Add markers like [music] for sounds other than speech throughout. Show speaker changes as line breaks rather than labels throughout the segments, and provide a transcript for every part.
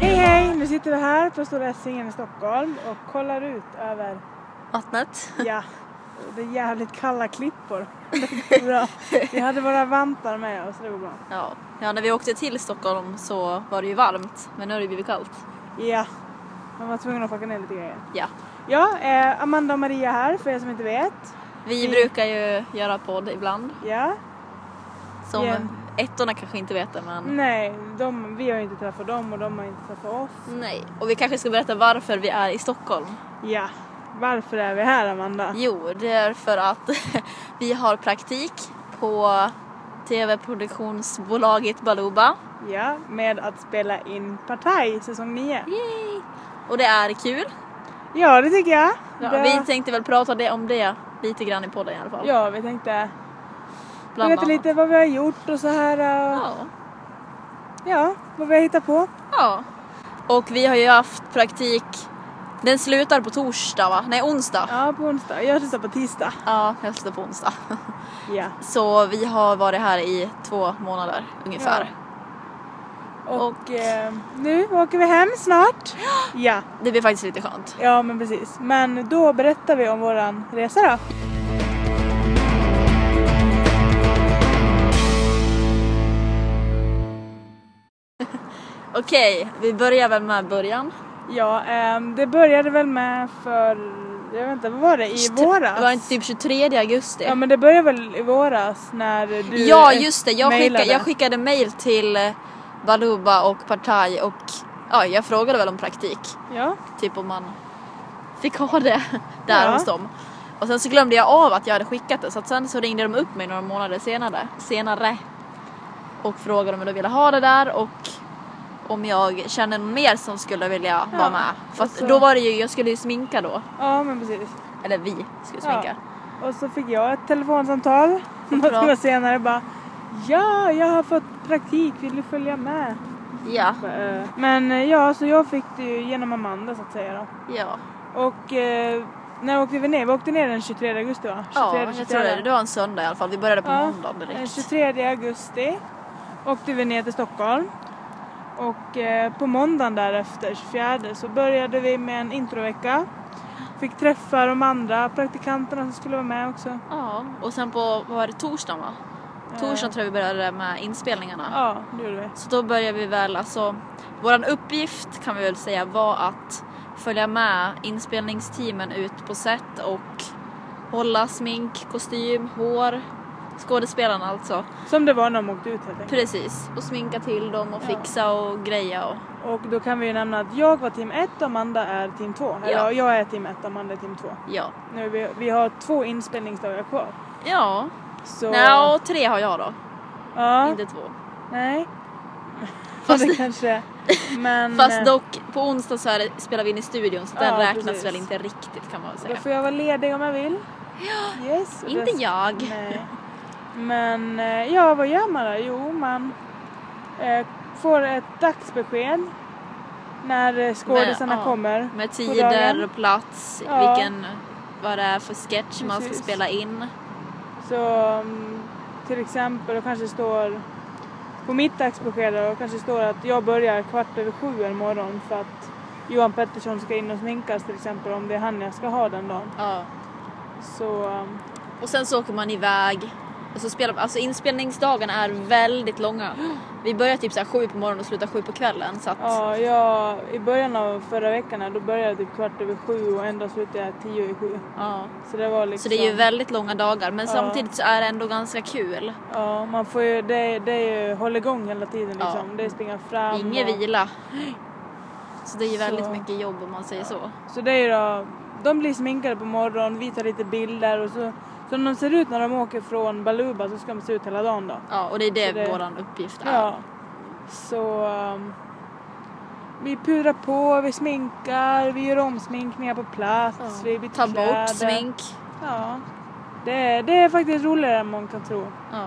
Hej hej! Nu sitter vi här på Stora Essingen i Stockholm och kollar ut över,
Vattnet.
ja, det är jävligt kalla klippor. [laughs] Det går bra. Vi hade våra vantar med oss, det går bra.
Ja. ja, när vi åkte till Stockholm så var det ju varmt, men nu har det blivit kallt.
Ja, man var tvungen att packa ner lite grejer.
Ja.
Ja, eh, Amanda och Maria här för er som inte vet.
Vi
Vi-
brukar ju göra podd ibland.
Ja,
Som
Ja.
ettorna kanske inte vet det, men
nej, de, vi har ju inte träffat dem och de har inte träffat oss.
nej. Och vi kanske ska berätta varför vi är i Stockholm.
Ja, varför är vi här Amanda?
Jo, det är för att [laughs] vi har praktik på tv-produktionsbolaget Baluba.
Ja, med att spela in Partaj säsong 9.
Yay! Och det är kul.
Ja, det tycker jag.
Ja,
det...
Vi tänkte väl prata det- om det lite grann i podden i alla fall.
ja, vi tänkte
bland
berätta
annat.
lite vad vi har gjort och så här. Och, ja.
Ja.
vad vi har hittat på.
Ja. Och vi har ju haft praktik, den slutar på torsdag va? Nej onsdag. Ja,
Ja, på onsdag. Jag slutar på tisdag.
jag slutar på onsdag.
Ja.
[laughs] Så vi har varit här i två månader ungefär.
Och,
Och-
eh, nu åker vi hem snart. Ja,
Det blir faktiskt lite skönt.
ja men precis. Men då berättar vi om våran resa då.
Okej, vi börjar väl med början.
Ja, ehm, det började väl med för, jag vet inte, vad var det? I våras?
Det var inte typ 23 augusti?
Ja men det började väl i våras när du
Ja,
eh,
just det, jag,
mailade.
skicka, jag skickade mail till eh, Baluba och Partaj och ja, jag frågade väl om praktik.
Ja,
Typ om man fick ha det [laughs] där
Ja.
hos dem. Och sen så glömde jag av att jag hade skickat det så att sen så ringde de upp mig några månader senare, senare och frågade om jag ville ha det där och om jag kände någon mer som skulle vilja
Ja, alltså-
vara med. För att
och så-
då var det ju, jag skulle ju sminka då.
ja men precis.
Eller vi skulle
Ja.
sminka.
Och så fick jag ett telefonsamtal [laughs] några timmar senare bara Ja, jag har fått praktik, vill du följa med?
Ja.
Bara, "Eh." Men eh, ja, så jag fick det ju genom Amanda så att säga då.
ja.
Och eh, när åkte vi ner? Vi åkte ner den 23 augusti va? 23,
Ja, jag tror det. Det var en söndag i alla fall. Vi började på
Ja,
måndagen
Den
direkt.
23 augusti åkte vi ner till Stockholm. Och eh, på måndagen därefter, 24, så började vi med en introvecka. Fick träffa de andra praktikanterna som skulle vara med också.
Ja, och sen på, vad var det, torsdagen va?
Eh.
Torsdagen tror jag vi började med inspelningarna.
Ja, det gjorde vi.
Så då börjar vi väl, alltså våran uppgift kan vi väl säga var att följa med inspelningsteamen ut på set och hålla smink, kostym, hår, skådespelarna alltså.
Som det var när de åkte ut helt enkelt.
Precis, och sminka till dem och
Ja.
fixa och greja och
Och då kan vi ju nämna att jag var team 1 och Amanda är team 2. Eller
Ja.
jag är team 1 Amanda är team 2.
ja.
Nu, vi, vi har två inspelningsdagar kvar.
Ja,
Så...
Nja, och tre har jag då,
ja,
inte två. [laughs]
Nej.
Fast-
det kanske... Men... eh,
[laughs] Fast dock, på onsdag så är det, spelar vi in i studion så den
Ja,
räknas
precis.
väl inte riktigt kan man väl
Då
säga.
får jag vara ledig om jag vill. Ja, yes, och
Inte
det-
jag.
Nej. Men eh, ja, vad gör man då? Jo, man eh, får ett dagsbesked när eh, skådisarna
ja.
kommer.
Med
dagen.
tider och plats,
Ja.
vilken, vad det är för sketch man ska
Precis.
spela in.
Så mm, till exempel, då kanske står på mitt dagsbesked då kanske står att jag börjar kvart över sju en morgon för att Johan Pettersson ska in och sminkas till exempel om det är han jag ska ha den dagen.
Ja.
Så um,
Och sen så åker man iväg. Och så spelar, alltså inspelningsdagarna är väldigt långa. Vi börjar typ så här sju på morgonen och slutar sju på kvällen. Så att,
Ja, jag, i början av förra veckan här, då började jag typ kvart över sju och ändå slutade jag tio i sju.
ja.
Så det var liksom...
Så det är ju väldigt långa dagar men
Ja.
samtidigt så är det ändå ganska kul.
Ja, man får ju, det, det är ju hålligång hela tiden
Ja.
liksom. Det är springa fram
Ingen
och,
vila. Så det är ju
Så.
väldigt mycket jobb om man säger så.
Så det är ju då, de blir sminkade på morgonen, vi tar lite bilder och så som de ser ut när de åker från Baluba så ska de se ut hela dagen då.
Ja, och det är det,
Så det-
våran uppgift är.
Ja. Så um, vi pudrar på, vi sminkar, vi gör omsminkningar på plats, vi byter
Ta bort
kläder.
smink.
Ja. Det, det är faktiskt roligare än man kan tro.
Ja.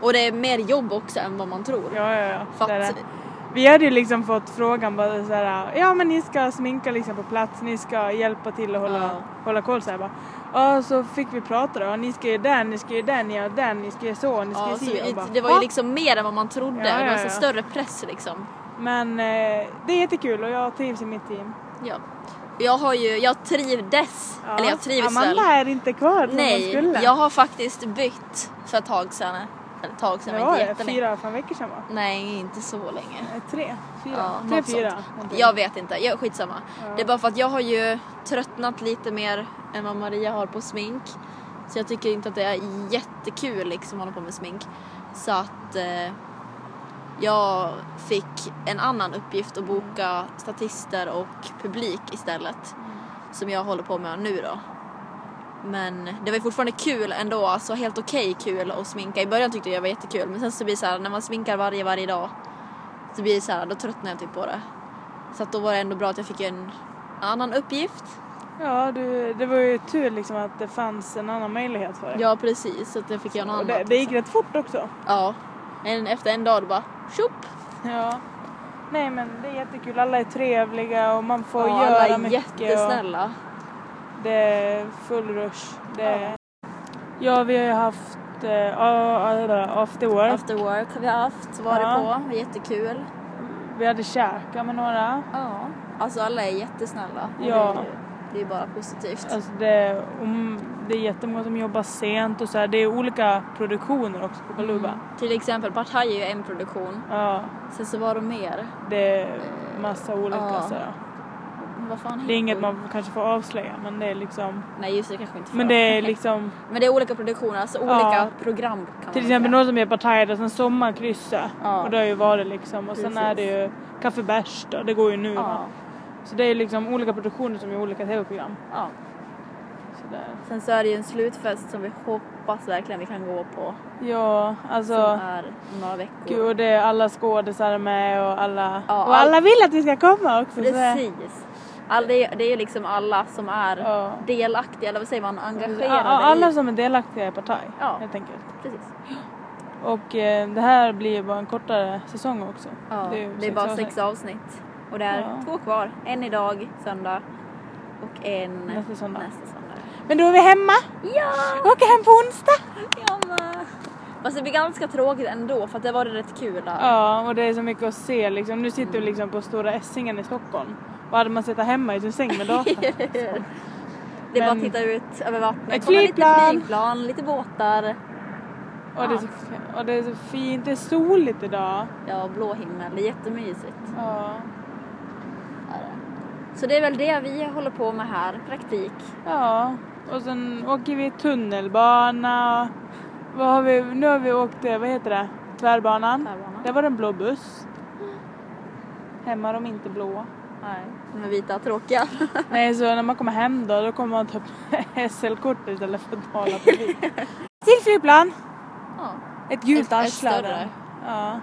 Och det är mer jobb också än vad man tror.
Ja, ja, ja.
För
Det är
att
det. Vi hade ju liksom fått frågan bara så här, ja men ni ska sminka liksom på plats, ni ska hjälpa till och hålla,
Ja.
hålla koll så här bara. Ja, så fick vi prata då, ni ska göra den, ni ska göra den, ni gör den, ni ska göra så, ni ska
Ja,
göra
så
si.
vi,
Jag bara,
det var ju
"Va?"
liksom mer än vad man trodde.
Ja,
det var
ja,
så
ja.
större press liksom.
Men eh, det är jättekul och jag trivs i mitt team.
Ja. Jag har ju, jag trivdes,
Ja.
eller jag trivs väl.
Amanda är inte kvar som hon
Nej,
skulle.
jag har faktiskt bytt för ett tag sedan. Eller ett tag sedan,
det
men
var
inte
det,
jättelänge.
fyra, fem veckor sedan va?
Nej, inte så länge.
Eh, Tre, fyra,
Ja,
tre,
något sånt.
fyra. någonting.
Jag vet inte, jag, skitsamma.
Ja.
Det är bara för att jag har ju tröttnat lite mer än vad Maria har på smink. Så jag tycker inte att det är jättekul liksom att hålla på med smink. Så att eh, jag fick en annan uppgift att boka statister och publik istället. Som jag håller på med nu då. Men det var ju fortfarande kul ändå, alltså helt okej kul att sminka. I början tyckte jag det var jättekul men sen så blir det så här när man sminkar varje, varje dag så blir det så här, då tröttnar jag typ på det. Så att då var det ändå bra att jag fick en annan uppgift.
Ja, du, det var ju tur liksom att det fanns en annan möjlighet för dig.
Ja precis, så att jag fick göra något
och
annat.
det, det gick
liksom.
rätt fort också.
Ja. En, efter en dag då bara tjopp!
Ja. Nej men det är jättekul, alla är trevliga och man får
ja,
göra
alla är
mycket. och
jättesnälla.
Det är full rush. Det är... Ja, vi har ju haft eh, ja, ja, after work.
After work har vi haft, varit
Ja.
på, det var jättekul.
Vi hade käkat med några.
Ja. Alltså alla är jättesnälla. och
Ja.
Det är ju det är ju bara positivt.
Alltså det, om, det är jättemånga som jobbar sent och så här. Det är olika produktioner också
Mm.
på Baluba.
Till exempel Partaj är ju en produktion.
Ja,
Sen så var de mer.
det är massa olika
Ja.
så här.
Men Vad fan
Det är
heter
inget
de?
man kanske får avslöja men det är liksom
Nej just det kanske inte får.
Men det är liksom
Men det är olika produktioner, alltså olika
Ja.
program kan man
till exempel
säga.
någon som är Partaj och sen Sommarkrysset
Ja.
och det har ju varit liksom och sen
Precis.
är det ju Café Bärs då, det går ju nu va?
Ja.
Så det är liksom olika produktioner som är olika tv-program.
ja.
Så där.
Sen så är det ju en slutfest som vi hoppas verkligen vi kan gå på.
Ja, alltså
Som är om några veckor.
Gud, och det är alla skådisar med och alla...
Ja,
och
allt.
alla vill att vi ska komma också. så det-
Precis. All, det, är- det är ju liksom alla som är
Ja.
delaktiga, eller vad säger man, engagerade.
Ja, alla
i,
som är delaktiga i Partaj
Ja.
helt enkelt.
precis.
Och eh, det här blir ju bara en kortare säsong också.
Ja, det, är
ju
bara
avsnitt.
sex avsnitt. Och det är
Ja.
två kvar. En idag, söndag. Och en
Nästa söndag.
nästa söndag.
Men då är vi hemma.
Ja!
Åker hem på onsdag.
Jag med. Fast det blir ganska tråkigt ändå för att det var det rätt kul. där.
Ja, och det är så mycket att se liksom. Nu sitter vi liksom på Stora Essingen i Stockholm. Och hade man suttit hemma i sin säng med
[laughs]
datorn.
Det är bara
Men-
att titta ut över vattnet.
Ett
Kommer Lite
flygplan.
flygplan, lite båtar.
och, det är så, f- och det är så fint. Det är soligt idag.
Ja, blå himmel. Det är jättemysigt.
Ja.
Är det. Så det är väl det vi håller på med här, praktik.
Ja, och sen åker vi tunnelbana. Vad har vi, nu har vi åkt, eh, vad heter det, tvärbanan.
Tvärbanan.
Där var det en blå buss. Hemma är de inte blåa.
Nej. De är vita och tråkiga.
Nej, så när man kommer hem då, då kommer man ta upp [laughs] SL-kort istället för att tala på
[laughs]
bil. Till flygplan!
[laughs] ja.
Ett gult
Ett- ett
arsle av
större.
den. Ja.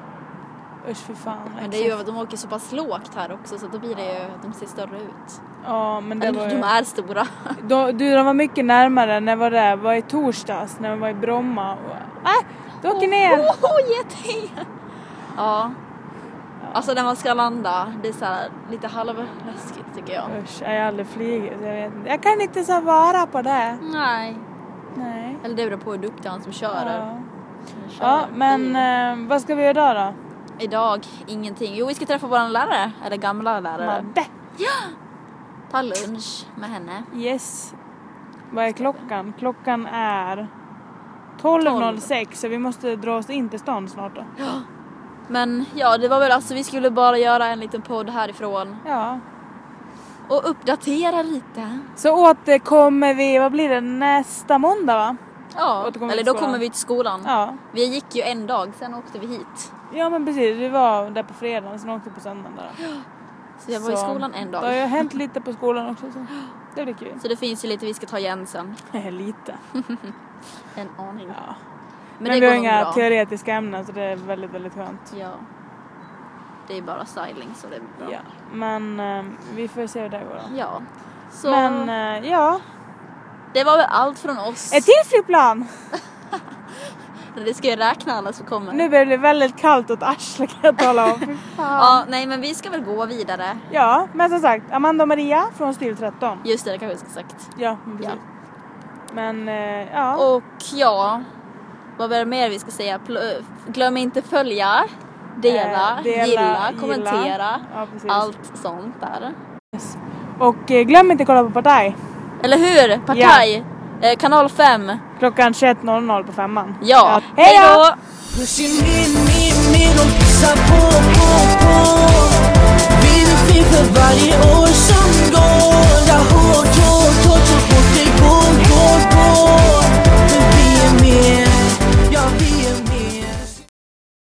Usch för fan.
Men det är ju att de åker så pass lågt här också så då blir det ju, de ser större ut.
Ja, men det
Eller
var
de
ju...
är stora.
Då, du, de var mycket närmare när var det? Var i torsdags när de var i Bromma. Och, äh, du åker ner!
[laughs] Åh, oh, geting! Ja. Alltså när man ska landa, det är så här lite halvläskigt tycker jag.
Usch, jag har aldrig flugit så jag vet inte. Jag kan inte så vara på det.
Nej.
Nej.
Eller det beror på hur duktig han som kör är.
Ja,
Som kör
ja
bil.
men eh, vad ska vi göra idag då?
Idag, ingenting. Jo, vi ska träffa vår lärare, eller gamla lärare.
Madde!
[gasps] Ta lunch med henne.
Yes. Vad är klockan? Klockan är 12.06 så vi måste dra oss in till stan snart då.
Men ja, det var väl alltså, vi skulle bara göra en liten podd härifrån
Ja.
och uppdatera lite.
Så återkommer vi, vad blir det, nästa måndag va?
Ja,
Återkommer
eller
till
då
skolan.
kommer vi till skolan.
Ja.
Vi gick ju en dag, sen åkte vi hit.
Ja men precis, vi var där på fredagen sen åkte vi på söndagen där.
Så jag var i
Så,
skolan en
Det har ju
dag.
hänt lite på skolan också så det blir
[laughs]
kul.
Så det finns ju lite vi ska ta igen sen.
lite.
En aning.
Ja. Men,
Men, det
vi
går
har
nog
inga
bra.
teoretiska ämnen så det är väldigt, väldigt skönt.
Ja. Det är bara styling så det är bra.
Ja. Men eh, vi får se hur det går då.
Ja. Så
Men eh, ja,
det var väl allt från oss.
ett till flygplan!
Vi ska ju räkna alla som kommer.
Nu börjar det bli väldigt kallt åt arslet kan jag tala
[laughs]
om. Fy fan.
Ja, nej men vi ska väl gå vidare.
Ja, men som sagt, Amanda och Maria från Stil 13.
Just det, det kanske jag ska sagt.
Ja, men precis. Men eh, ja,
Och ja, vad är det mer vi ska säga? Pl- eh, glöm inte följa, dela,
Eh,
gilla,
dela, gilla.
kommentera.
ja precis.
Allt sånt där.
Och eh, glöm inte att kolla på Partaj
Eller hur? Partaj! Eh, kanal 5.
klockan 21.00 på femman.
Ja.
Hej då!
Pushing me, me, me, de pissar på, på, på Vi är fin för varje